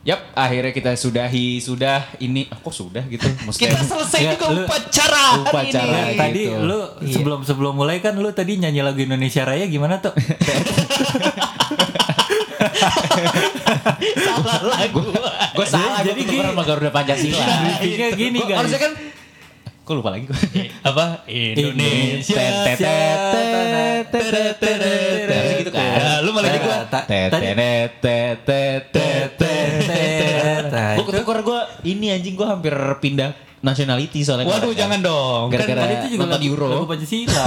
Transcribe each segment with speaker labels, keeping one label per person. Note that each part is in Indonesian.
Speaker 1: Yap, akhirnya kita sudahi sudah ini. Ah, kok sudah gitu? Maksudnya-
Speaker 2: Kita selesai
Speaker 3: Ya,
Speaker 2: juga
Speaker 3: lu-
Speaker 2: upacara hari
Speaker 1: upacara.
Speaker 3: Nah,
Speaker 2: ini.
Speaker 1: Iya, Gitu.
Speaker 3: tadi lu
Speaker 2: Iya.
Speaker 3: sebelum sebelum mulai kan lu tadi nyanyi lagu Indonesia Raya gimana tuh?
Speaker 2: Salah lagu.
Speaker 1: Gue salah,
Speaker 3: Jadi
Speaker 1: jadi
Speaker 3: gini.
Speaker 1: gini. sama Garuda Pancasila.
Speaker 3: Briefingnya gini
Speaker 1: Gua-
Speaker 3: guys.
Speaker 1: Harusnya kan, kok lupa lagi gue.
Speaker 2: Apa?
Speaker 3: Indonesia.
Speaker 1: Harusnya gitu kan.
Speaker 2: Nah, lu malah jadi gua.
Speaker 1: Gue ketukar gue ini anjing gue hampir pindah nationality soalnya.
Speaker 2: Waduh, jangan dong. Kan
Speaker 1: Gara-gara
Speaker 3: Tadi itu juga
Speaker 1: nonton
Speaker 3: lagu,
Speaker 1: Euro.
Speaker 3: lagu Pancasila.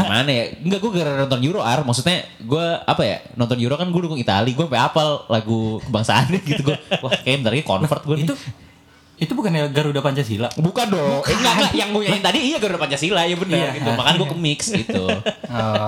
Speaker 1: Mana ya? Enggak gue gara-gara nonton Euro Ar. Maksudnya gue apa ya? Nonton Euro kan gue dukung Itali. Gue sampai apal lagu kebangsaan gitu gue. Wah kayak bentar lagi convert gue nih.
Speaker 3: itu itu bukannya Garuda Pancasila?
Speaker 1: Bukan dong. Eh, enggak, enggak. Yang gue nyanyiin tadi iya Garuda Pancasila ya benar
Speaker 3: Iya.
Speaker 1: gitu. Makanya gue ke mix gitu.
Speaker 2: Oh.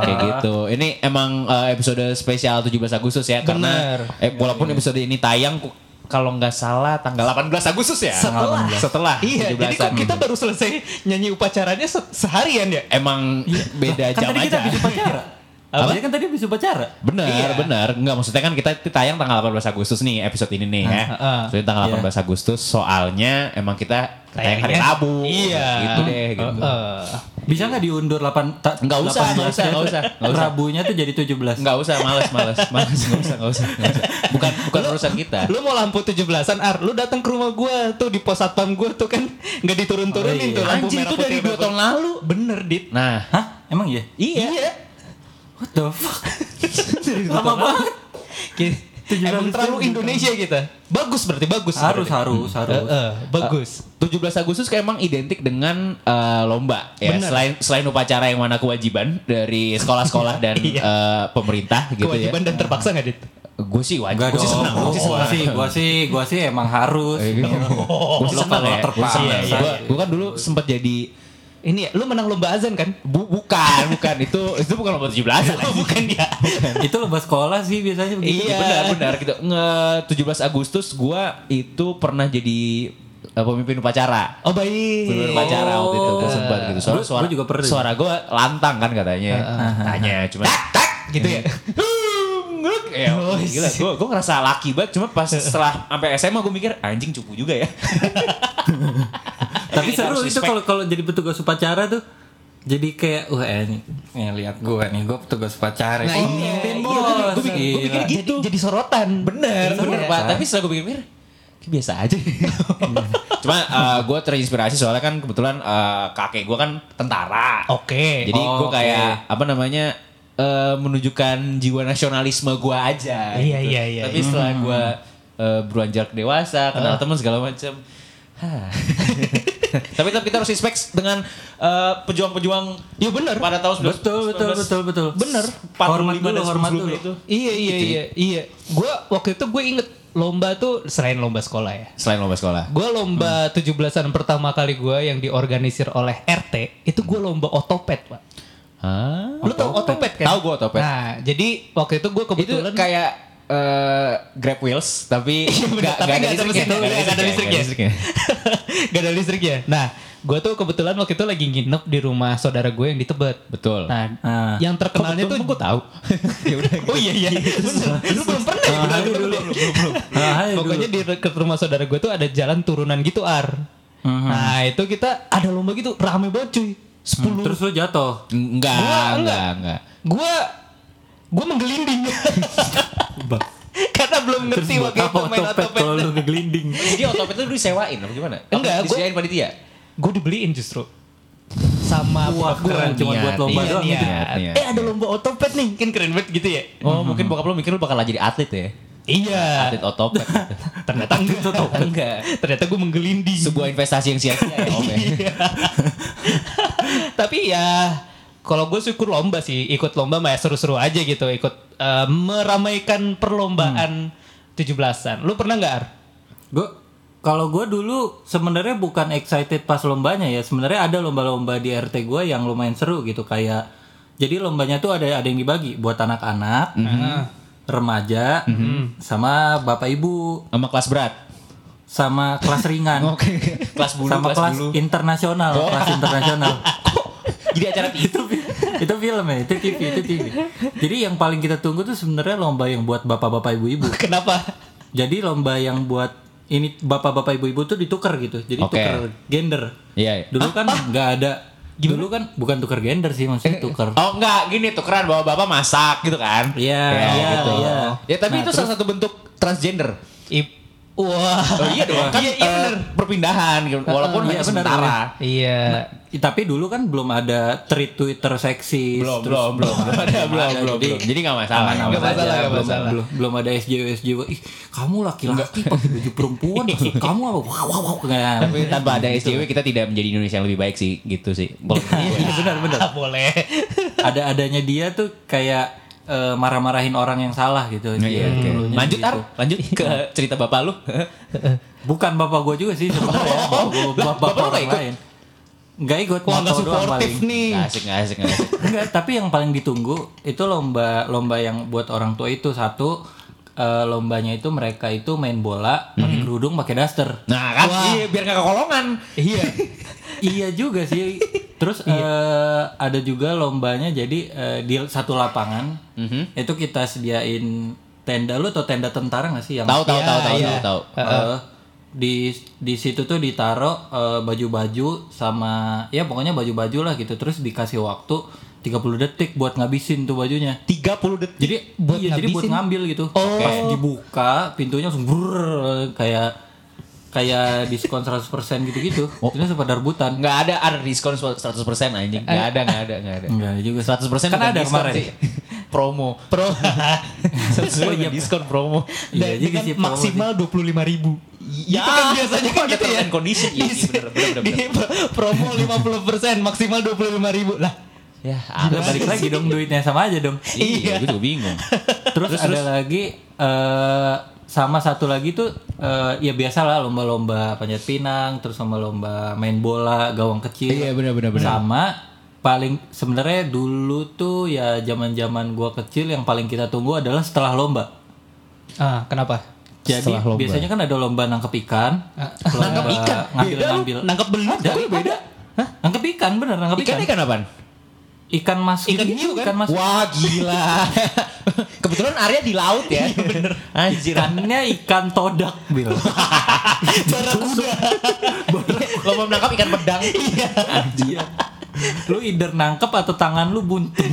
Speaker 1: Kayak gitu. Ini emang eh, episode spesial 17 Agustus ya karena
Speaker 2: Bener.
Speaker 1: eh, walaupun
Speaker 2: Iya,
Speaker 1: episode ini tayang ku- kalau nggak salah tanggal 18 Agustus ya.
Speaker 2: Setelah.
Speaker 1: Setelah
Speaker 2: Iya, jadi kok
Speaker 1: 17-an.
Speaker 2: kita baru selesai nyanyi upacaranya se- seharian ya?
Speaker 1: emang Iya, beda
Speaker 3: kan
Speaker 1: jam
Speaker 3: tadi kita
Speaker 1: aja.
Speaker 3: habis upacara.
Speaker 1: Apa?
Speaker 3: Apa? Kan tadi habis upacara.
Speaker 1: Benar,
Speaker 2: Iya.
Speaker 1: benar. Enggak maksudnya kan kita tayang tanggal 18 Agustus nih episode ini nih ya.
Speaker 2: Ah, ah.
Speaker 1: Soalnya tanggal
Speaker 3: Iya.
Speaker 1: 18 Agustus soalnya emang kita tayang hari
Speaker 2: Tayangnya-
Speaker 1: Rabu.
Speaker 2: Iya.
Speaker 1: Gitu deh gitu.
Speaker 2: Heeh.
Speaker 3: Bisa nggak diundur 8 ta,
Speaker 1: Nggak usah, nggak usah,
Speaker 3: 18?
Speaker 1: nggak usah, nggak usah.
Speaker 3: Rabunya tuh jadi
Speaker 2: oh.
Speaker 3: 17.
Speaker 1: Enggak usah, males, males, males, enggak usah, enggak usah, nggak usah. Bukan bukan urusan kita.
Speaker 2: Lu mau lampu 17-an Ar, lu datang ke rumah gua tuh di pos satpam gua tuh kan nggak
Speaker 3: Oh,
Speaker 2: diturun-turunin
Speaker 3: iya.
Speaker 2: tuh lampu
Speaker 1: Anjing
Speaker 2: merah
Speaker 1: tuh dari
Speaker 2: putih,
Speaker 1: 2
Speaker 2: merah
Speaker 1: tahun lalu. Bener, Dit. Nah,
Speaker 3: Hah? Emang iya?
Speaker 2: putih. Iya.
Speaker 3: What the fuck? Lama banget.
Speaker 2: Ki- Emang terlalu Indonesia kita. Bagus berarti bagus.
Speaker 3: Harus,
Speaker 2: berarti.
Speaker 3: harus, harus.
Speaker 2: Eh, eh, bagus.
Speaker 1: 17 Agustus kayak emang identik dengan eh, lomba ya.
Speaker 2: Bener.
Speaker 1: Selain selain upacara yang mana kewajiban dari sekolah-sekolah dan
Speaker 2: Iya.
Speaker 1: eh, pemerintah gitu
Speaker 2: Kewajiban
Speaker 1: ya.
Speaker 2: dan terpaksa nggak dit?
Speaker 1: Gue sih wajib,
Speaker 3: Enggak
Speaker 1: gue
Speaker 3: dong.
Speaker 1: sih senang, gue sih
Speaker 3: Gua
Speaker 1: senang.
Speaker 3: sih, gua sih, gua sih emang harus.
Speaker 2: Eh, gitu.
Speaker 1: Gue sih
Speaker 3: Oh, Lo
Speaker 1: senang
Speaker 3: kalau
Speaker 1: ya. Gue
Speaker 3: terpaksa.
Speaker 1: senang.
Speaker 3: Iya,
Speaker 1: Gua-
Speaker 3: iya.
Speaker 1: Gua kan dulu sempat jadi
Speaker 2: Ini ya, lu menang lomba azan kan?
Speaker 1: Bu- bukan, bukan itu itu bukan lomba 17
Speaker 2: Oh, bukan ya.
Speaker 3: Itu lomba sekolah sih biasanya begitu.
Speaker 1: Iya benar benar gitu. Nge 17 Agustus gua itu pernah jadi eh, pemimpin upacara.
Speaker 2: Oh baik.
Speaker 1: Pemimpin upacara waktu itu gua sempat gitu. Soalnya
Speaker 3: Oh. Gua-
Speaker 1: suara
Speaker 3: gua juga pernah.
Speaker 1: suara gua lantang kan katanya. Tanya cuma
Speaker 2: Tak gitu ya.
Speaker 1: Ya,
Speaker 2: Oh,
Speaker 1: gila,
Speaker 2: shit.
Speaker 1: gue gue ngerasa laki banget cuma pas setelah sampai SMA gue mikir anjing cupu juga ya.
Speaker 2: Iya,
Speaker 3: Tapi seru
Speaker 1: Harus
Speaker 3: itu
Speaker 1: respect.
Speaker 3: kalau kalau jadi petugas upacara tuh. Jadi kayak wah ini nih eh, lihat gua nih gua petugas upacara.
Speaker 2: Nah,
Speaker 3: Oh,
Speaker 2: iya.
Speaker 3: mimpin
Speaker 2: Iya,
Speaker 3: bos.
Speaker 2: gua- gua pikir- gua
Speaker 3: Gila.
Speaker 2: pikir gitu. Jadi, jadi sorotan.
Speaker 1: Bener,
Speaker 3: Bener,
Speaker 1: bener,
Speaker 3: ya,
Speaker 1: Pak.
Speaker 3: Pak.
Speaker 1: Tapi setelah gue pikir-pikir, kayak biasa aja. Cuma gue terinspirasi soalnya kan kebetulan eh, kakek gue kan tentara.
Speaker 2: Oke.
Speaker 1: Jadi gue
Speaker 3: Oh,
Speaker 1: kayak apa namanya eh, menunjukkan jiwa nasionalisme gue aja. gitu.
Speaker 2: Iya, iya, iya,
Speaker 1: Tapi
Speaker 2: iya.
Speaker 1: setelah gue beranjak dewasa, kenal teman segala macam. Hah. Tapi tetap kita harus respect dengan eh, pejuang-pejuang
Speaker 2: Ya bener.
Speaker 1: pada tahun
Speaker 3: Betul, betul, betul, betul.
Speaker 1: Bener.
Speaker 3: Hormat
Speaker 1: 45 dan
Speaker 3: dulu, hormat
Speaker 1: sebelumnya
Speaker 3: dulu.
Speaker 1: itu.
Speaker 2: Iya iya
Speaker 1: Gitu.
Speaker 2: iya iya. Gue waktu itu gue inget lomba tuh selain lomba sekolah ya.
Speaker 1: Selain lomba sekolah.
Speaker 2: Gue lomba
Speaker 1: Hmm.
Speaker 2: 17-an pertama kali gue yang diorganisir oleh RT itu gue lomba otopet pak.
Speaker 1: Hah?
Speaker 2: Lu tau otopet kan?
Speaker 1: Tahu gua otopet.
Speaker 2: Nah jadi waktu itu gue
Speaker 1: itu
Speaker 2: kebetulan Iya,
Speaker 1: kayak eh, Grab Wheels tapi nggak
Speaker 2: tapi
Speaker 1: nggak ada
Speaker 2: nggak ada
Speaker 1: listriknya, nggak
Speaker 2: mesin, nggak ada
Speaker 1: nggak ada listriknya.
Speaker 2: gak ada listrik ya. Nah gue tuh kebetulan waktu itu lagi nginep di rumah saudara gue yang di Tebet.
Speaker 1: Betul.
Speaker 2: Nah
Speaker 3: Ah.
Speaker 2: yang terkenalnya tuh
Speaker 1: gue tahu. ya udah.
Speaker 2: Oh iya iya. Bener. Lu belum pernah ya?
Speaker 3: Ah,
Speaker 2: Bener,
Speaker 3: hai
Speaker 2: bener,
Speaker 3: dulu.
Speaker 2: bener.
Speaker 3: Ah, hai dulu.
Speaker 2: Pokoknya di dekat rumah saudara gue tuh ada jalan turunan gitu Ar.
Speaker 3: Hmm.
Speaker 2: Nah itu kita ada lomba gitu rame banget cuy. Sepuluh.
Speaker 3: Hmm, Terus lo jatuh.
Speaker 1: Enggak,
Speaker 2: Gua
Speaker 1: enggak,
Speaker 2: enggak.
Speaker 1: enggak.
Speaker 2: Gue gue menggelinding. Karena belum ngerti
Speaker 3: Terus buat
Speaker 2: waktu itu
Speaker 3: apa
Speaker 2: main
Speaker 3: otopet
Speaker 2: otopet.
Speaker 3: kalau lu ngegelinding?
Speaker 1: Jadi otopet itu disewain apa gimana?
Speaker 2: Enggak,
Speaker 1: Apa
Speaker 2: gua-
Speaker 1: disediain panitia.
Speaker 2: Gue dibeliin justru sama
Speaker 3: Wah,
Speaker 2: bokap gua.
Speaker 3: keren, cuma buat
Speaker 1: Niat,
Speaker 3: lomba
Speaker 2: Iya,
Speaker 3: doang
Speaker 2: niat.
Speaker 3: gitu.
Speaker 1: Niat, niat,
Speaker 2: Eh ada lomba otopet nih kan keren banget gitu ya.
Speaker 1: Oh, mungkin bokap lu mikir lu bakal jadi atlet ya.
Speaker 2: Iya.
Speaker 1: Atlet otopet. gitu.
Speaker 2: Ternyata enggak.
Speaker 1: enggak.
Speaker 2: Ternyata gue menggelinding.
Speaker 1: Sebuah investasi yang sia-sia ya, Om. ya.
Speaker 2: Iya. Tapi ya kalau gue syukur lomba sih ikut lomba mah ya seru-seru aja gitu ikut eh, meramaikan perlombaan 17-an. Lu pernah nggak Ar?
Speaker 3: Gue kalau gue dulu sebenarnya bukan excited pas lombanya ya. Sebenarnya ada lomba-lomba di RT gue yang lumayan seru gitu kayak jadi lombanya tuh ada ada yang dibagi buat anak-anak, remaja, sama bapak ibu,
Speaker 1: Sama kelas berat.
Speaker 3: sama kelas ringan,
Speaker 1: Oh, Kelas bulu,
Speaker 3: sama
Speaker 1: kelas,
Speaker 3: kelas,
Speaker 1: bulu.
Speaker 3: internasional, kelas internasional.
Speaker 1: Jadi acara
Speaker 3: itu fi- itu film ya, itu TV, itu TV. Jadi yang paling kita tunggu tuh sebenarnya lomba yang buat bapak-bapak ibu-ibu.
Speaker 2: Kenapa?
Speaker 3: Jadi lomba yang buat ini bapak-bapak ibu-ibu tuh ditukar gitu. Jadi
Speaker 1: Oke.
Speaker 3: tukar gender.
Speaker 1: Iya. iya.
Speaker 3: Dulu kan nggak ada. Dulu kan bukan tukar gender sih maksudnya tukar.
Speaker 1: Oh enggak, gini tukeran bawa bapak masak gitu kan.
Speaker 3: Iya,
Speaker 1: Ya,
Speaker 3: iya,
Speaker 1: gitu.
Speaker 3: iya.
Speaker 1: Ya tapi itu salah satu bentuk transgender.
Speaker 2: Ip- Wah.
Speaker 1: Oh iya dong, kan
Speaker 2: Iya, iya
Speaker 1: eh,
Speaker 2: bener.
Speaker 1: perpindahan gitu. Walaupun
Speaker 3: Uh.
Speaker 1: hanya
Speaker 3: Iya, bener,
Speaker 1: sementara.
Speaker 2: Iya.
Speaker 3: I- Tapi dulu kan belum ada tweet Twitter seksis.
Speaker 1: Belum, belum,
Speaker 3: terus-
Speaker 1: belum, belum, ada, belum, belum,
Speaker 3: jadi-
Speaker 1: belum. Jadi nggak masalah.
Speaker 2: Nggak
Speaker 1: nggak
Speaker 2: masalah,
Speaker 1: masalah.
Speaker 2: nggak
Speaker 3: belum,
Speaker 2: masalah.
Speaker 3: belum, belum ada SJW SJW. Ih, kamu laki-laki pakai baju perempuan, maksud kamu apa? Wow, wow, wow. Nggak,
Speaker 1: Tapi tanpa ada SJW kita tidak menjadi Indonesia yang lebih baik sih, gitu sih. Belum.
Speaker 3: Iya, benar, benar.
Speaker 2: Boleh.
Speaker 3: ada adanya dia tuh kayak eh, marah-marahin orang yang salah gitu.
Speaker 1: Iya,
Speaker 3: Dia
Speaker 1: oke.
Speaker 3: dulunya
Speaker 1: Lanjut
Speaker 3: gitu.
Speaker 1: Ar, lanjut ke cerita bapak lu.
Speaker 3: Bukan bapak gue juga sih sebenarnya. Bapak gua-
Speaker 1: Lah,
Speaker 3: bapak,
Speaker 1: Oh, bapak lu
Speaker 3: orang
Speaker 1: nggak ikut?
Speaker 3: lain. Gak ikut. moto
Speaker 2: Wah nggak
Speaker 3: doang
Speaker 2: suportif
Speaker 3: paling.
Speaker 2: nih.
Speaker 1: Nggak asik, nggak asik, nggak asik.
Speaker 3: Enggak, tapi yang paling ditunggu itu lomba lomba yang buat orang tua itu satu eh, lombanya itu mereka itu main bola pakai
Speaker 1: Hmm.
Speaker 3: kerudung pakai daster.
Speaker 1: Nah kan, iya, biar nggak kekolongan.
Speaker 2: Iya.
Speaker 3: iya juga sih. Terus eh, ada juga lombanya jadi eh, di satu lapangan itu kita sediain tenda lu atau tenda tentara nggak sih yang
Speaker 1: Tahu, tahu, tahu, tahu,
Speaker 2: Iya,
Speaker 1: tahu, tahu.
Speaker 3: Eh, di di situ tuh ditaro eh, baju-baju sama ya pokoknya baju-baju lah gitu terus dikasih waktu 30 detik buat ngabisin tuh bajunya.
Speaker 2: 30 detik.
Speaker 3: Jadi buat iya, jadi buat
Speaker 2: ngabisin.
Speaker 3: ngambil gitu.
Speaker 1: Oh.
Speaker 3: Pas dibuka pintunya langsung brrrr, kayak kayak diskon 100% gitu-gitu.
Speaker 1: Oh.
Speaker 3: Ini sempat rebutan.
Speaker 1: Nggak ada ada diskon 100% anjing. Nggak ada, nggak ada, nggak ada.
Speaker 3: Enggak juga.
Speaker 1: 100%
Speaker 3: Kan
Speaker 1: bukan
Speaker 3: ada
Speaker 1: diskon
Speaker 3: kemarin.
Speaker 1: sih. promo. Pro. Sesuai diskon promo.
Speaker 3: Iya
Speaker 2: Dan
Speaker 3: juga
Speaker 2: dengan
Speaker 3: sih, promo
Speaker 2: maksimal 25 ribu.
Speaker 1: Ya,
Speaker 2: itu kan biasanya kan
Speaker 1: ada
Speaker 2: gitu
Speaker 1: terms
Speaker 2: ya.
Speaker 1: and condition. Iya, iya, bener, bener, bener,
Speaker 2: Di promo 50% maksimal 25 ribu lah.
Speaker 1: Ya,
Speaker 3: Lah, Ah, balik lagi dong duitnya sama aja dong.
Speaker 1: Iya, gue juga bingung.
Speaker 3: Terus, ada lagi eh sama satu lagi tuh eh, ya biasa lah lomba-lomba panjat pinang, terus sama lomba main bola, gawang kecil.
Speaker 1: Iya, benar, benar, benar.
Speaker 3: Sama paling sebenarnya dulu tuh ya zaman-zaman gua kecil yang paling kita tunggu adalah setelah lomba.
Speaker 2: Ah, kenapa?
Speaker 3: Jadi
Speaker 1: Setelah lomba.
Speaker 3: biasanya kan ada lomba nangkep ikan, lomba
Speaker 2: Nangkep
Speaker 1: Iya,
Speaker 2: ikan?
Speaker 3: ngambil
Speaker 2: Beda lu.
Speaker 3: ngambil.
Speaker 2: Nangkep belut?
Speaker 3: Ada,
Speaker 2: Tapi beda.
Speaker 3: ada. Hah? Nangkep ikan bener nangkep ikan.
Speaker 1: Ikan ikan apaan?
Speaker 3: Ikan mas.
Speaker 2: Ikan
Speaker 3: ini,
Speaker 2: hiu kan?
Speaker 3: Ikan mas.
Speaker 1: Wah, gila. Kebetulan area di laut ya.
Speaker 2: Iya,
Speaker 1: Bener. Anjir.
Speaker 3: Ikannya ikan todak bil.
Speaker 1: Lomba menangkap ikan pedang.
Speaker 3: Iya. Lu either nangkep atau tangan lu buntung.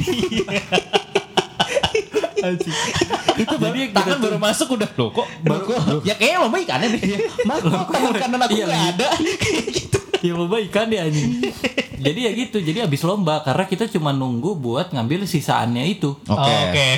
Speaker 1: Itu baru
Speaker 3: Jadi
Speaker 1: tangan
Speaker 3: gitu tuh.
Speaker 1: baru masuk udah loh kok. Baru, ya kayaknya lomba ikannya deh.
Speaker 2: Iya.
Speaker 1: Mas,
Speaker 3: Loh,
Speaker 1: kok tangan
Speaker 3: kok-
Speaker 1: kanan aku
Speaker 3: iya,
Speaker 1: nggak
Speaker 3: iya.
Speaker 1: ada.
Speaker 3: ya lomba ikan ya anjing. Jadi ya gitu. Jadi abis lomba karena kita cuma nunggu buat ngambil sisaannya itu.
Speaker 2: Oh, Oke.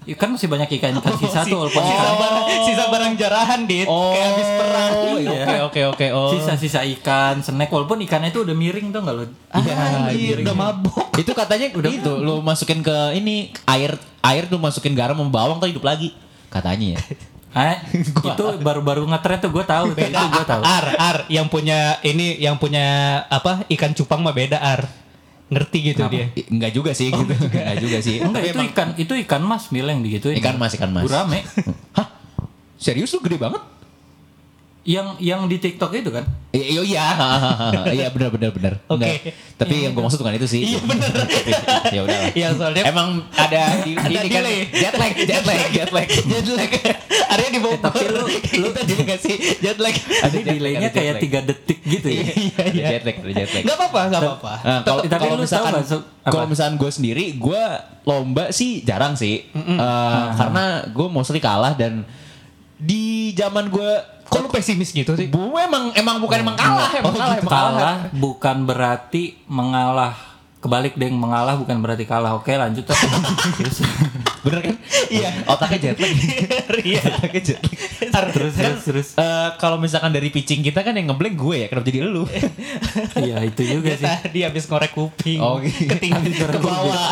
Speaker 3: Ikan masih banyak ikan ikan
Speaker 1: Oh,
Speaker 3: sisa tuh walaupun
Speaker 2: sisa,
Speaker 3: ikan
Speaker 2: barang, sisa barang jarahan, Dit. Kayak habis perang.
Speaker 3: iya.
Speaker 1: Oke, oke, oke. Oh.
Speaker 3: sisa-sisa ikan, snack walaupun ikannya itu udah miring tuh nggak lo?
Speaker 1: Ah.
Speaker 3: Iya.
Speaker 2: Anjir, udah mabok.
Speaker 1: Iya,
Speaker 2: Iya.
Speaker 1: Itu katanya udah itu lu masukin ke ini air air tuh masukin garam sama bawang tuh hidup lagi katanya ya.
Speaker 3: Ah, itu baru-baru ngetren tuh gue tahu, tuh, itu gue tahu.
Speaker 2: Ar, Ar, yang punya ini, yang punya apa? Ikan cupang mah beda, Ar. Ngerti gitu dia.
Speaker 1: I- Enggak juga sih
Speaker 2: Oh,
Speaker 1: gitu. Enggak juga sih. Tapi
Speaker 3: Enggak itu
Speaker 1: emang
Speaker 3: ikan itu ikan mas mileng digituin.
Speaker 1: ikan mas ikan mas.
Speaker 3: Gurame.
Speaker 1: Hah? Serius lu gede banget?
Speaker 3: yang yang di TikTok itu kan?
Speaker 1: Iya iya iya. Iya benar benar benar.
Speaker 2: Oke.
Speaker 1: Enggak. Tapi yang gue maksud bukan itu sih. Iya benar. ya udah.
Speaker 2: Iya, soalnya-
Speaker 1: emang ada di
Speaker 2: Ada
Speaker 1: ini kan
Speaker 2: delay.
Speaker 1: jet lag jet lag jet lag jet lag. Area di Bogor.
Speaker 3: tapi lu-
Speaker 1: kita juga kasih jet lag.
Speaker 3: Ada
Speaker 1: jet lag,
Speaker 3: delaynya
Speaker 1: ada jet
Speaker 3: kayak
Speaker 1: lag.
Speaker 3: tiga detik gitu ya.
Speaker 1: Iya iya. Ada Jet lag ada jet lag.
Speaker 2: Gak apa-apa, gak apa-apa.
Speaker 1: Eh, kalau
Speaker 3: Tapi- tapi
Speaker 1: kalau
Speaker 3: lu tahu
Speaker 1: misalkan
Speaker 3: nggak, Sob? Apa?
Speaker 1: kalau misalkan gue sendiri gue lomba sih jarang sih Eh, karena gue mostly kalah dan di zaman gue
Speaker 2: Kok lu pesimis gitu sih?
Speaker 1: gue emang emang bukan emang kalah emang kalah emang kalah
Speaker 3: Oh, gitu. kalah bukan berarti mengalah. Kebalik deng mengalah bukan berarti kalah. Oke lanjut. Tet. Terus,
Speaker 1: bener kan iya otaknya jet lag
Speaker 2: Iya.
Speaker 1: otaknya jet lag
Speaker 3: terus
Speaker 1: Kan,
Speaker 3: terus terus.
Speaker 1: eh, kalau misalkan dari pitching kita kan yang ngeblank gue ya kenapa jadi lu
Speaker 3: Iya itu juga
Speaker 2: Dia
Speaker 3: sih.
Speaker 2: tadi habis ngorek kuping.
Speaker 1: Oh, iya.
Speaker 2: Ketinggian
Speaker 3: Habis ngorek
Speaker 2: ke bawah,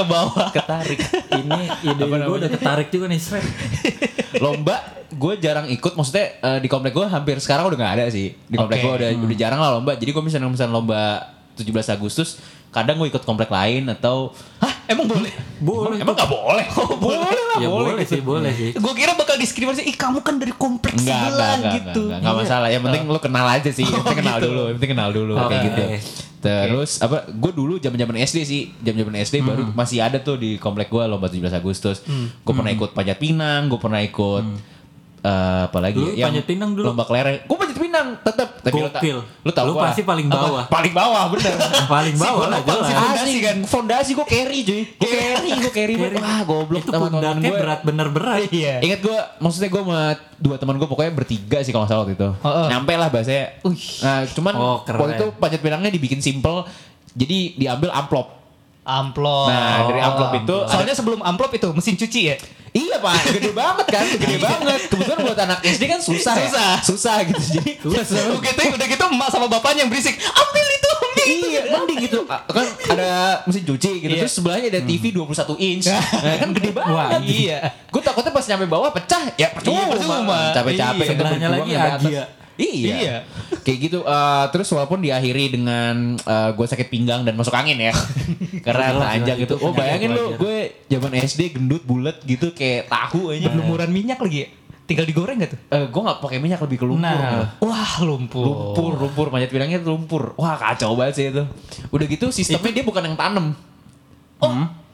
Speaker 2: ke bawah.
Speaker 1: ketarik
Speaker 3: Ini ide
Speaker 1: Apa
Speaker 3: gue udah ketarik juga nih. Srek.
Speaker 1: lomba gue jarang ikut maksudnya eh, di komplek gue hampir sekarang udah nggak ada sih di komplek
Speaker 2: Oke.
Speaker 1: gue udah
Speaker 3: Hmm.
Speaker 1: udah jarang lah lomba jadi gue misalnya misalnya lomba 17 Agustus kadang gue ikut komplek lain atau hah
Speaker 2: Emang boleh?
Speaker 3: Boleh.
Speaker 1: emang nggak boleh oh, boleh gitu lah
Speaker 3: Ya boleh, sih boleh sih.
Speaker 1: Iya.
Speaker 2: Gue kira bakal diskriminasi, ih kamu kan dari kompleks
Speaker 1: Enggak, enggak,
Speaker 2: sebelah
Speaker 1: enggak,
Speaker 2: gitu.
Speaker 1: enggak, enggak, enggak masalah. Yang penting lu kenal aja sih. Yang penting kenal dulu, yang penting kenal dulu kayak
Speaker 3: Oh, gitu. Oke.
Speaker 1: gitu. Terus apa gue dulu zaman-zaman SD sih, zaman-zaman SD baru
Speaker 3: Hmm.
Speaker 1: masih
Speaker 3: Hmm.
Speaker 1: ada tuh di komplek gue lomba 17 Agustus. Gue pernah ikut panjat pinang, gue pernah ikut eh, apa lagi
Speaker 3: Lu
Speaker 1: ya?
Speaker 3: panjat pinang Hmm. dulu.
Speaker 1: Lomba kelereng. Gua panjat pinang tetap. Tapi lu, ta-
Speaker 3: Gokil.
Speaker 1: lu tahu
Speaker 3: Lu
Speaker 1: gua-
Speaker 3: pasti paling
Speaker 1: apa?
Speaker 3: bawah.
Speaker 1: Paling bawah bener.
Speaker 3: Paling
Speaker 1: Si
Speaker 3: bawah
Speaker 1: gua
Speaker 3: lah,
Speaker 1: nopal, si
Speaker 3: jelas.
Speaker 1: fondasi kan. Fondasi gua carry cuy. Gua carry, gua carry. banget. Wah, goblok
Speaker 3: Itu
Speaker 1: teman-teman
Speaker 3: pundaknya
Speaker 1: gua.
Speaker 3: berat bener berat.
Speaker 2: Iya.
Speaker 1: Ingat gue, maksudnya gue sama dua teman gue pokoknya bertiga sih kalau nggak salah waktu itu.
Speaker 2: Heeh.
Speaker 1: Nyampe lah bahasanya. Nah, cuman
Speaker 3: Oh, keren.
Speaker 1: waktu itu panjat pinangnya dibikin simple. Jadi diambil amplop.
Speaker 2: Amplop. Oh.
Speaker 1: Nah, dari amplop itu ada-
Speaker 2: Soalnya sebelum amplop itu mesin cuci ya.
Speaker 1: Iya pak, gede banget kan, gede banget. Kebetulan buat anak SD kan susah,
Speaker 2: Iya. Susah.
Speaker 1: ya? susah gitu. Jadi
Speaker 2: Begitu udah gitu emak sama bapaknya yang berisik, ambil itu, ambil itu.
Speaker 1: Iya, mending gitu. Kan ada mesin cuci gitu.
Speaker 2: Iya.
Speaker 1: Terus sebelahnya ada TV 21 inch. Nah, kan gede banget.
Speaker 3: Wah,
Speaker 2: iya.
Speaker 1: Gue takutnya pas nyampe bawah pecah. Ya percuma.
Speaker 2: Iya, percuma.
Speaker 1: Capek-capek.
Speaker 2: Iya.
Speaker 1: kita
Speaker 3: Sebelahnya
Speaker 1: berjuang
Speaker 3: lagi
Speaker 1: sampai atas.
Speaker 3: Agia.
Speaker 1: Iya.
Speaker 2: Iya.
Speaker 1: Kayak gitu. eh, terus walaupun diakhiri dengan gue sakit pinggang dan masuk angin ya. Karena
Speaker 3: Gila,
Speaker 1: teranjang
Speaker 3: gila,
Speaker 1: gitu.
Speaker 3: itu
Speaker 1: Oh bayangin
Speaker 3: kenapa
Speaker 1: lu
Speaker 3: wajar.
Speaker 1: gue zaman SD gendut bulat gitu kayak tahu aja.
Speaker 2: Belum murah minyak lagi ya. Tinggal digoreng gak tuh?
Speaker 1: gue nggak pakai minyak lebih ke lumpur.
Speaker 3: Nah.
Speaker 1: malah.
Speaker 2: Wah, lumpur.
Speaker 1: Lumpur, lumpur, panjat pinangnya itu lumpur. Wah kacau banget sih itu. Udah gitu sistemnya dia bukan yang tanam.
Speaker 2: Oh,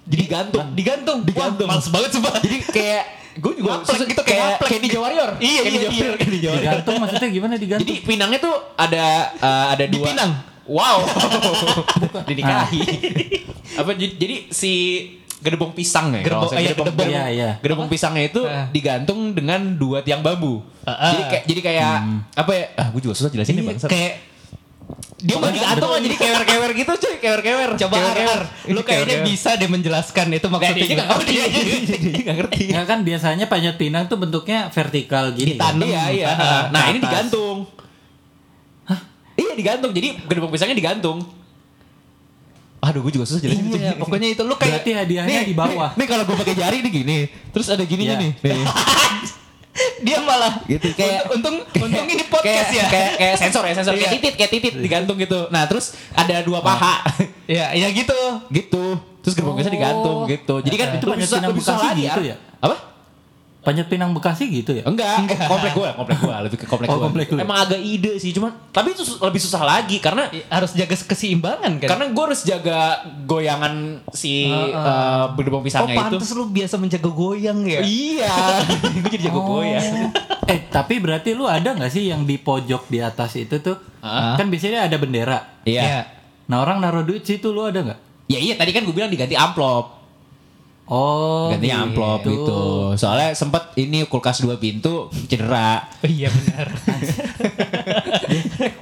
Speaker 1: Jadi gantung.
Speaker 2: digantung.
Speaker 1: Digantung.
Speaker 2: Wah, males banget sumpah.
Speaker 1: Jadi kayak gue juga
Speaker 2: Ngaplek
Speaker 1: susah
Speaker 2: gitu, kayak
Speaker 1: kayak
Speaker 2: ngaplek.
Speaker 1: kayak di Warrior.
Speaker 2: Iya,
Speaker 1: Kayak
Speaker 2: iya,
Speaker 1: Ninja
Speaker 2: iya.
Speaker 1: Warrior, kayak Ninja Warrior.
Speaker 3: Digantung maksudnya gimana
Speaker 1: Jadi
Speaker 3: digantung?
Speaker 1: pinangnya tuh ada eh, ada dua.
Speaker 2: Dipinang.
Speaker 1: Wow. Dinikahi. Apa jadi, jadi si gedebong pisang ya? kalau
Speaker 2: Gerbong-
Speaker 1: saya
Speaker 2: Ah. iya,
Speaker 1: gedebong-
Speaker 2: gerbong.
Speaker 3: Iya, iya.
Speaker 1: Gedebong pisangnya itu
Speaker 2: Ah.
Speaker 1: digantung dengan dua tiang bambu.
Speaker 2: Ah,
Speaker 1: Jadi
Speaker 2: ah.
Speaker 1: kayak jadi kayak apa ya? Ah, gue juga susah jelasin nih
Speaker 2: Iya,
Speaker 1: bangsat.
Speaker 2: kayak
Speaker 1: Dia mah digantung aja jadi kewer-kewer gitu cuy, kewer-kewer.
Speaker 2: coba Ar, lu kayaknya bisa deh menjelaskan itu
Speaker 1: Nah,
Speaker 2: maksudnya. Iya.
Speaker 1: dia nggak ngerti, dia dia nggak ngerti.
Speaker 3: Ya kan biasanya panjat pinang tuh bentuknya vertikal gini. kan?
Speaker 2: Ditanam.
Speaker 1: Iya, iya.
Speaker 2: Ah,
Speaker 1: Nah,
Speaker 3: ke
Speaker 1: ini
Speaker 3: atas.
Speaker 1: digantung. Iya, digantung. Jadi gedebong pisangnya digantung. Aduh, gue juga susah jelasin.
Speaker 2: Iya, pokoknya itu lu
Speaker 3: kan.
Speaker 2: kayak
Speaker 3: Berarti hadiahnya di bawah.
Speaker 1: Nih, nih kalau gue pakai jari nih gini, terus ada gininya
Speaker 3: Iya.
Speaker 1: nih. Nih.
Speaker 2: dia malah
Speaker 1: Gitu, kayak-
Speaker 2: untung untung ini podcast
Speaker 1: kayak,
Speaker 2: ya.
Speaker 1: Kayak, kayak sensor ya, sensor kayak
Speaker 2: Iya.
Speaker 1: titit, kayak titit digantung gitu. Nah, terus ada dua paha.
Speaker 2: ya, ya gitu.
Speaker 1: gitu. Terus gedebong pisang
Speaker 3: Oh.
Speaker 1: digantung gitu. Jadi kan
Speaker 3: Nah, itu
Speaker 1: lebih
Speaker 3: banyak
Speaker 1: susah-
Speaker 3: pinang
Speaker 1: lebih susah
Speaker 3: Bekasi
Speaker 1: lagi,
Speaker 3: gitu
Speaker 1: Ar.
Speaker 3: ya?
Speaker 1: Apa?
Speaker 3: Panjat pinang Bekasi gitu ya?
Speaker 1: Enggak, eh, komplek gue, komplek gue, lebih ke komplek ya?
Speaker 3: Oh,
Speaker 1: gua.
Speaker 3: komplek lu.
Speaker 1: Emang agak ide sih, cuman tapi itu sus- lebih susah lagi karena
Speaker 2: Ya, Harus jaga keseimbangan kan.
Speaker 1: karena gue harus jaga goyangan si
Speaker 2: Heeh.
Speaker 1: eh, gedebong
Speaker 2: oh,
Speaker 1: pisangnya itu.
Speaker 2: pantas lu biasa menjaga goyang ya.
Speaker 1: Iya, gue jadi jago goyang.
Speaker 3: eh tapi berarti lu ada nggak sih yang di pojok di atas itu tuh?
Speaker 1: Ah.
Speaker 3: Kan biasanya ada bendera.
Speaker 1: Iya.
Speaker 2: Ya.
Speaker 3: Nah orang naruh duit situ lu ada nggak?
Speaker 1: Ya iya, tadi kan gue bilang diganti amplop.
Speaker 3: Oh.
Speaker 1: Ganti
Speaker 3: gitu.
Speaker 1: amplop gitu. Soalnya sempet ini kulkas dua pintu cedera.
Speaker 2: Oh, iya benar.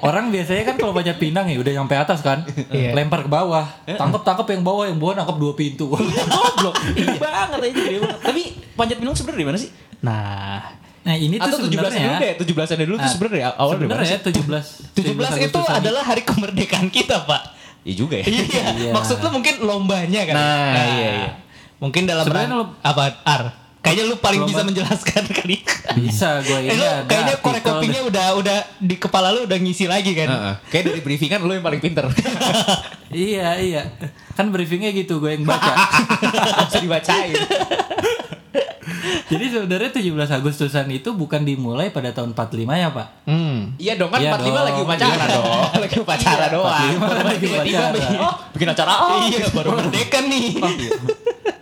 Speaker 3: Orang biasanya kan kalau panjat pinang ya udah nyampe atas kan,
Speaker 2: Iya.
Speaker 3: lempar ke bawah, tangkap tangkap yang bawah, yang bawah nangkap dua pintu.
Speaker 1: Goblok, ini banget aja gede banget. Iya. Tapi panjat pinang sebenarnya di mana sih?
Speaker 2: Nah,
Speaker 3: Nah ini tuh
Speaker 1: Atau 17-an dulu
Speaker 3: sebenarnya
Speaker 1: deh, 17-an dulu ya? tuh
Speaker 3: Nah,
Speaker 1: sebenarnya dari awal dari mana
Speaker 3: sebenarnya
Speaker 1: sih?
Speaker 3: 17
Speaker 2: 17 itu
Speaker 3: Agustusan.
Speaker 2: adalah hari kemerdekaan kita, Pak.
Speaker 1: Iya juga ya.
Speaker 2: Iya.
Speaker 3: Iya.
Speaker 2: Maksud lu mungkin lombanya kan?
Speaker 1: Nah, iya, iya.
Speaker 2: Mungkin dalam
Speaker 3: Sebenarnya
Speaker 2: rang- apa Ar? Kayaknya lu paling
Speaker 3: Lomba-
Speaker 2: bisa menjelaskan kali.
Speaker 3: bisa gue ini
Speaker 2: Eh, lu
Speaker 3: ada
Speaker 2: kayaknya
Speaker 3: artikel
Speaker 2: korek kopinya udah udah di kepala lu udah ngisi lagi kan?
Speaker 1: Heeh. Kayak dari briefing kan lu yang paling pinter.
Speaker 3: dah. iya iya kan briefingnya gitu gue yang baca
Speaker 1: Bisa dibacain.
Speaker 3: jadi sebenarnya 17 Agustusan itu bukan dimulai pada tahun 45 ya pak
Speaker 2: Hmm.
Speaker 1: Iya dong kan
Speaker 3: Iya
Speaker 1: 45 lagi
Speaker 3: dong.
Speaker 1: upacara dong. Lagi upacara doang.
Speaker 3: 45 lagi
Speaker 1: Tiba-tiba
Speaker 3: upacara.
Speaker 1: bikin- oh, bikin acara. Oh,
Speaker 2: iya baru merdeka nih.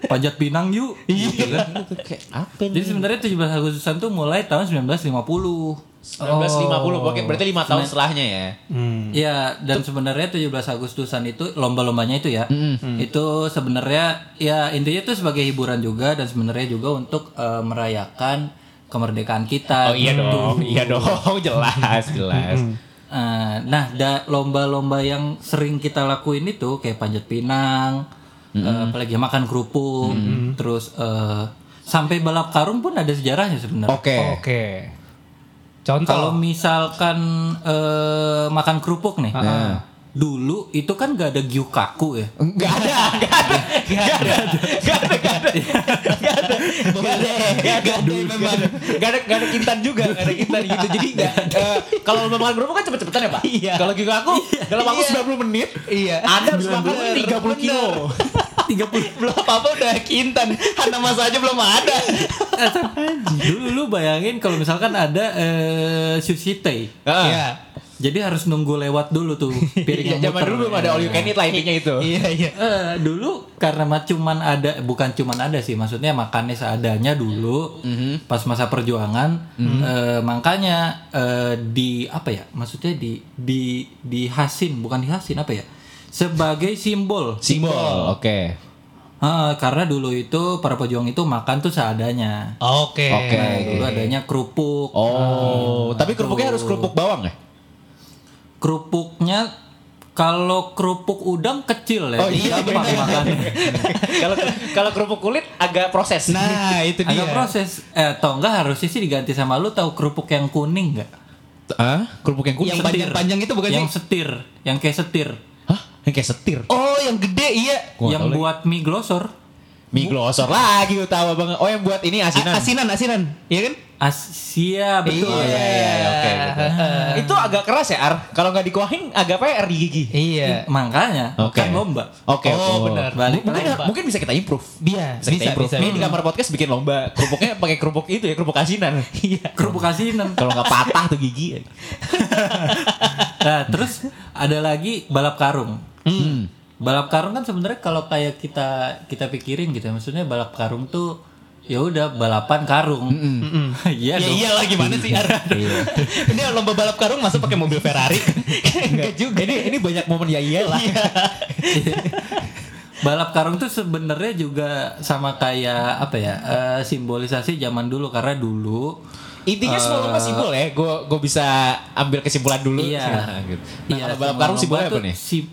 Speaker 3: panjat pinang yuk Gitu
Speaker 1: Iya kan itu kayak apa
Speaker 2: Oh.
Speaker 3: jadi sebenarnya 17 Agustusan tuh mulai tahun 1950
Speaker 1: 1950 pokoknya berarti 5 tahun setelahnya ya.
Speaker 2: Hmm.
Speaker 3: Ya dan sebenarnya 17 Agustusan itu lomba-lombanya itu ya.
Speaker 1: Hmm.
Speaker 3: Itu sebenarnya ya intinya itu sebagai hiburan juga dan sebenarnya juga untuk eh, merayakan kemerdekaan kita.
Speaker 1: Oh iya
Speaker 3: gitu.
Speaker 1: dong,
Speaker 2: Hmm.
Speaker 1: iya dong, jelas, jelas.
Speaker 3: Eh, nah, da- lomba-lomba yang sering kita lakuin itu kayak panjat pinang, eh, apalagi makan kerupuk, terus eh, sampai balap karung pun ada sejarahnya sebenarnya.
Speaker 1: Oke.
Speaker 2: Oke. Contoh.
Speaker 3: Kalau misalkan eh, makan kerupuk nih,
Speaker 1: Nah.
Speaker 3: dulu itu kan gak ada giu kaku ya.
Speaker 1: Enggak ada, enggak ada, enggak ada, enggak ada, enggak ada, enggak ada, enggak ada, enggak ada, memang. Enggak ada, enggak ada kintan juga, enggak ada kintan gitu. Jadi enggak, eh, kalau lomba makan kerupuk kan cepet-cepetan ya Pak?
Speaker 2: Iya.
Speaker 1: Kalau gitu aku, dalam waktu 90 menit,
Speaker 2: Iya.
Speaker 1: Anda harus makan
Speaker 2: Bener,
Speaker 1: 30 kilo.
Speaker 3: 30
Speaker 2: Ya belum apa-apa udah kintan. Hana masa aja belum ada.
Speaker 3: dulu lu bayangin kalau misalkan ada eh, sushi tei.
Speaker 1: Heeh.
Speaker 2: Iya.
Speaker 3: Jadi harus nunggu lewat dulu tuh
Speaker 1: Ah. Iya,
Speaker 3: piring yang
Speaker 1: zaman
Speaker 3: muter.
Speaker 1: dulu belum ada all you can eat lah intinya itu.
Speaker 2: Iya iya.
Speaker 3: Eh, dulu karena mah cuman ada bukan cuman ada sih maksudnya makannya seadanya dulu
Speaker 1: Mhm.
Speaker 3: pas masa perjuangan eh, makanya eh, di apa ya maksudnya di di dihasin bukan dihasin apa ya sebagai simbol
Speaker 1: Simbol, oke.
Speaker 3: Eh, karena dulu itu para pejuang itu makan tuh seadanya
Speaker 2: Oke.
Speaker 1: Oke.
Speaker 3: Nah, dulu adanya kerupuk
Speaker 1: Oh, tapi kerupuknya harus kerupuk bawang ya?
Speaker 3: kerupuknya kalau kerupuk udang kecil ya
Speaker 1: Oh, iya,
Speaker 3: gampang
Speaker 1: bener.
Speaker 3: makannya.
Speaker 1: Kalau kalau kerupuk kulit agak proses.
Speaker 2: Nah itu dia.
Speaker 3: Agak proses eh atau enggak harusnya sih diganti sama lu tahu kerupuk yang kuning enggak?
Speaker 1: Hah? Kerupuk yang kulit.
Speaker 2: Yang
Speaker 3: Setir.
Speaker 2: panjang-panjang itu bukan
Speaker 3: yang
Speaker 2: sih?
Speaker 3: setir, yang kayak setir,
Speaker 1: Hah? Yang kayak setir.
Speaker 2: Oh yang gede iya.
Speaker 1: Gua nggak
Speaker 3: yang
Speaker 1: tahu lagi.
Speaker 3: buat mie glosor.
Speaker 1: mie glosor lagi utama bang. Oh yang buat ini asinan.
Speaker 2: A- asinan asinan. Iya kan?
Speaker 3: Asia betul.
Speaker 1: Oh, iya, iya, iya, oke. betul. Itu agak keras ya Ar. Kalau nggak dikuahin agak PR di gigi.
Speaker 2: Iya.
Speaker 3: Makanya
Speaker 1: Oke.
Speaker 3: kan lomba.
Speaker 1: Oke.
Speaker 2: Oh, benar.
Speaker 3: Balik
Speaker 1: mungkin,
Speaker 3: lagi.
Speaker 1: mungkin bisa kita improve.
Speaker 2: Dia
Speaker 1: Bisa, kita improve. Ini di kamar podcast bikin lomba. Kerupuknya pakai kerupuk itu ya, kerupuk asinan. Iya.
Speaker 3: Kerupuk asinan.
Speaker 1: Kalau nggak patah tuh gigi.
Speaker 3: nah, terus ada lagi balap karung. Balap karung kan sebenarnya kalau kayak kita kita pikirin gitu, ya, maksudnya balap karung tuh ya udah balapan karung. Iya
Speaker 2: Ya
Speaker 3: dong.
Speaker 2: iyalah gimana sih Ar?
Speaker 1: Iya.
Speaker 2: Ini lomba balap karung masa pakai mobil Ferrari?
Speaker 1: Iya
Speaker 2: Enggak juga.
Speaker 1: Ini ini banyak momen ya iyalah.
Speaker 3: Balap karung tuh sebenarnya juga sama kayak apa ya? eh, simbolisasi zaman dulu karena dulu
Speaker 1: Intinya semua lomba simbol ya. Gue gue bisa ambil kesimpulan dulu.
Speaker 3: Iya.
Speaker 1: Nah, gitu. Nah, kalau balap karung
Speaker 3: semua lomba
Speaker 1: simbolnya apa
Speaker 3: tuh
Speaker 1: nih?
Speaker 3: si-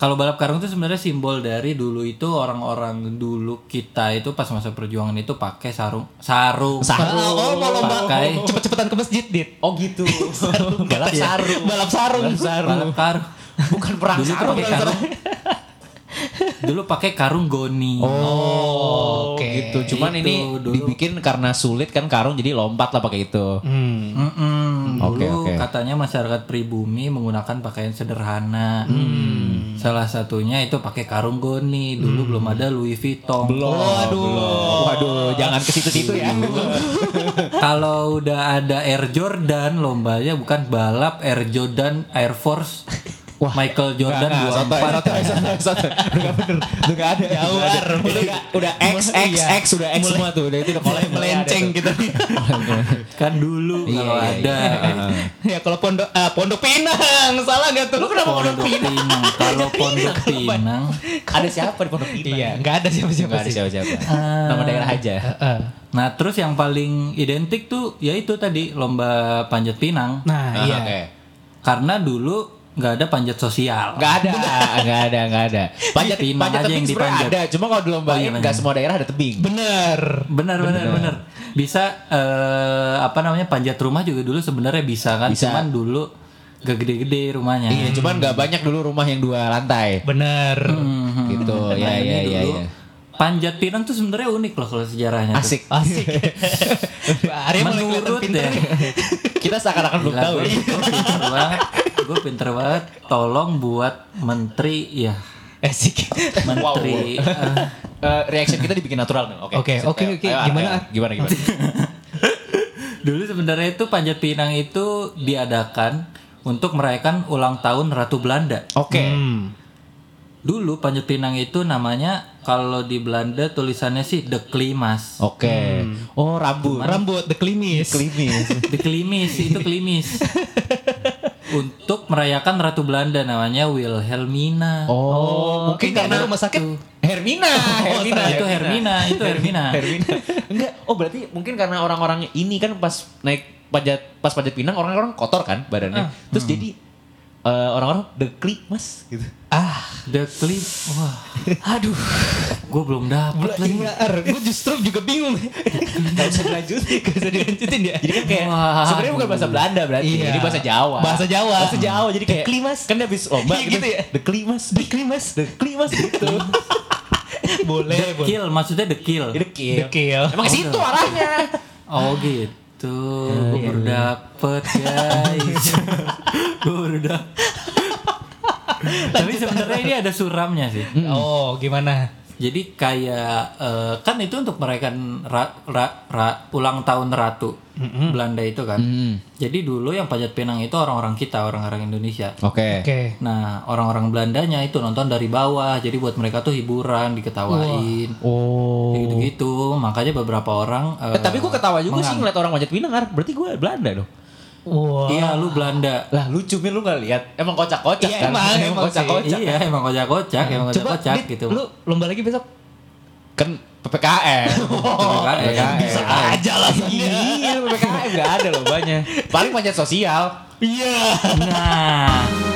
Speaker 3: kalau balap karung itu sebenarnya simbol dari dulu itu orang-orang dulu kita itu pas masa perjuangan itu pakai sarung sarung.
Speaker 1: Sarung.
Speaker 2: Oh mau lomba
Speaker 3: Pakai-
Speaker 2: cepet-cepetan ke masjid dit.
Speaker 1: Oh gitu. sarung, balap
Speaker 2: Iya.
Speaker 1: sarung.
Speaker 2: Balap sarung.
Speaker 3: Balap karung.
Speaker 1: Bukan perang
Speaker 3: dulu tuh
Speaker 1: sarung.
Speaker 3: pakai karung. dulu pakai karung goni.
Speaker 1: Oh,
Speaker 2: Oke.
Speaker 1: gitu. Cuman
Speaker 3: Itu
Speaker 1: ini
Speaker 3: dulu.
Speaker 1: dibikin karena sulit kan karung jadi lompat lah pakai itu.
Speaker 2: Hmm.
Speaker 3: Mm-mm.
Speaker 1: Oke,
Speaker 3: Dulu
Speaker 1: oke.
Speaker 3: katanya masyarakat pribumi menggunakan pakaian sederhana.
Speaker 1: Hmm.
Speaker 3: Salah satunya itu pakai karung goni. Dulu belum ada Louis Vuitton.
Speaker 1: Oh, Waduh. Waduh, jangan ke situ-situ ya.
Speaker 3: Kalau udah ada Air Jordan, lombanya bukan balap Air Jordan Air Force. Michael Jordan
Speaker 1: Nah, soto,
Speaker 3: 24
Speaker 1: soto, soto, soto. Udah nggak bener, udah nggak ada.
Speaker 2: Jauh,
Speaker 1: Udah
Speaker 2: Ar.
Speaker 1: nggak- Udah nggak- udah X, X,
Speaker 2: Iya.
Speaker 1: X, udah X semua tuh. Udah itu udah mulai
Speaker 2: melenceng gitu.
Speaker 3: kan dulu kalau
Speaker 1: iya,
Speaker 3: ada
Speaker 2: ya kalau pondok ah, pondok Pinang salah nggak tuh? Lu kenapa pondok
Speaker 3: Pondok Pinang. Kalau Pondok Pinang
Speaker 1: Ada siapa di Pondok Pinang?
Speaker 2: Iya, nggak ada siapa-siapa
Speaker 1: Nggak ada
Speaker 2: sih.
Speaker 1: siapa-siapa. Nama daerah aja.
Speaker 2: Heeh.
Speaker 3: Nah terus yang paling identik tuh yaitu tadi lomba panjat pinang
Speaker 2: Nah,
Speaker 1: Ah,
Speaker 2: iya.
Speaker 1: oke.
Speaker 3: Karena dulu nggak ada panjat sosial
Speaker 1: Nggak ada, nggak ada, nggak ada. Panjat,
Speaker 3: Pinang
Speaker 1: panjat
Speaker 3: aja
Speaker 1: tebing
Speaker 3: yang
Speaker 1: sebenarnya
Speaker 3: dipanjat.
Speaker 1: ada. Cuma kalau dilombain nggak semua daerah ada tebing.
Speaker 2: Bener.
Speaker 3: Benar benar benar. Bisa eh, apa namanya panjat rumah juga dulu sebenarnya bisa kan
Speaker 1: Bisa.
Speaker 3: cuman dulu gak gede-gede rumahnya.
Speaker 1: Iya, cuman nggak banyak dulu rumah yang dua lantai.
Speaker 2: Bener.
Speaker 3: Mhm.
Speaker 1: Gitu,
Speaker 3: Nah,
Speaker 1: ya,
Speaker 3: ini
Speaker 1: ya, ya,
Speaker 3: dulu
Speaker 1: ya.
Speaker 3: Panjat pinang tuh sebenarnya unik loh kalau sejarahnya. tuh.
Speaker 1: Asik.
Speaker 2: Asik. Arya mulai kelihatan
Speaker 3: Menurut
Speaker 2: pinter.
Speaker 3: ya.
Speaker 1: Kita seakan-akan belum tahu. ya.
Speaker 3: gue pinter banget. Gue pinter banget. Tolong buat menteri ya.
Speaker 2: Asik.
Speaker 3: Menteri. eh,
Speaker 1: Eh, reaction kita dibikin natural nih. Oke.
Speaker 2: Oke,
Speaker 1: Sip,
Speaker 2: oke,
Speaker 1: ayo.
Speaker 2: oke.
Speaker 1: Ayo, Ar,
Speaker 2: Gimana,
Speaker 1: ayo.
Speaker 2: Ar?
Speaker 1: Gimana gimana?
Speaker 3: Dulu sebenarnya itu panjat pinang itu diadakan untuk merayakan ulang tahun Ratu Belanda.
Speaker 1: Oke.
Speaker 2: Hmm.
Speaker 3: Dulu panjat pinang itu namanya kalau di Belanda tulisannya sih De Klimas.
Speaker 1: Oke. Oh, rambut.
Speaker 2: Rambut the klimis.
Speaker 1: Klimis.
Speaker 3: De Klimis itu Klimis. Untuk merayakan Ratu Belanda namanya Wilhelmina.
Speaker 1: Oh, mungkin
Speaker 2: Mungkin karena rumah sakit Oh,
Speaker 1: Hermina, Hermina.
Speaker 3: itu Hermina, itu Hermina.
Speaker 1: Hermina. Enggak. Oh, berarti mungkin karena orang-orang ini kan pas naik panjat pas panjat pinang orang-orang kotor kan badannya. Terus jadi eh, orang-orang degli, Mas gitu.
Speaker 2: ah
Speaker 3: The Klim, wah,
Speaker 2: aduh
Speaker 3: gue belum dapet lagi.
Speaker 2: Iya, gue justru juga bingung.
Speaker 1: Enggak usah dilanjutin.
Speaker 2: Gak bisa dilanjutin ya.
Speaker 1: Jadi kan kayak
Speaker 3: Wah,
Speaker 1: sebenarnya bukan bahasa Belanda berarti,
Speaker 2: Iya.
Speaker 1: ini bahasa Jawa.
Speaker 2: Bahasa Jawa.
Speaker 1: Bahasa Jawa jadi kayak
Speaker 2: Degli, Mas.
Speaker 1: Kan dia habis lomba
Speaker 2: Iya, gitu ya.
Speaker 1: Degli, Mas. Degli, Mas. Degli, Mas gitu.
Speaker 2: boleh, boleh.
Speaker 3: Kill, maksudnya The Kill.
Speaker 1: Jadi kill.
Speaker 2: Dekil.
Speaker 1: Emang ke situ arahnya.
Speaker 3: Oh gitu,
Speaker 2: Iya,
Speaker 3: gue baru dapet guys. gue baru dapet. Tapi sebenarnya ini ada suramnya sih.
Speaker 2: Oh, gimana?
Speaker 3: Jadi kayak eh, kan itu untuk merayakan ra- ra- ra- ulang tahun ratu Belanda itu kan. Jadi dulu yang panjat pinang itu orang-orang kita, orang-orang Indonesia.
Speaker 1: Oke.
Speaker 2: Oke.
Speaker 3: Nah, orang-orang Belandanya itu nonton dari bawah. Jadi buat mereka tuh hiburan, diketawain.
Speaker 2: Oh.
Speaker 3: kayak Gitu-gitu. Makanya beberapa orang eh,
Speaker 1: Eh, tapi gue ketawa juga sih ngeliat orang manjat pinang, Ar. berarti gue Belanda dong.
Speaker 2: Wah.
Speaker 3: Iya, lu Belanda.
Speaker 1: Lah lucu Min, lu gak lihat. Emang kocak-kocak kan?
Speaker 2: Iya, emang, emang sih.
Speaker 1: kocak-kocak.
Speaker 3: Iya, emang kocak-kocak, emang kocak-kocak
Speaker 2: kan? Dit,
Speaker 3: gitu.
Speaker 2: Lu lomba lagi besok.
Speaker 1: Kan PPKM.
Speaker 3: PPKM. Bisa
Speaker 1: aja lah. Iya, PPKM gak ada loh banyak. Paling panjat sosial.
Speaker 2: Iya.
Speaker 3: Nah,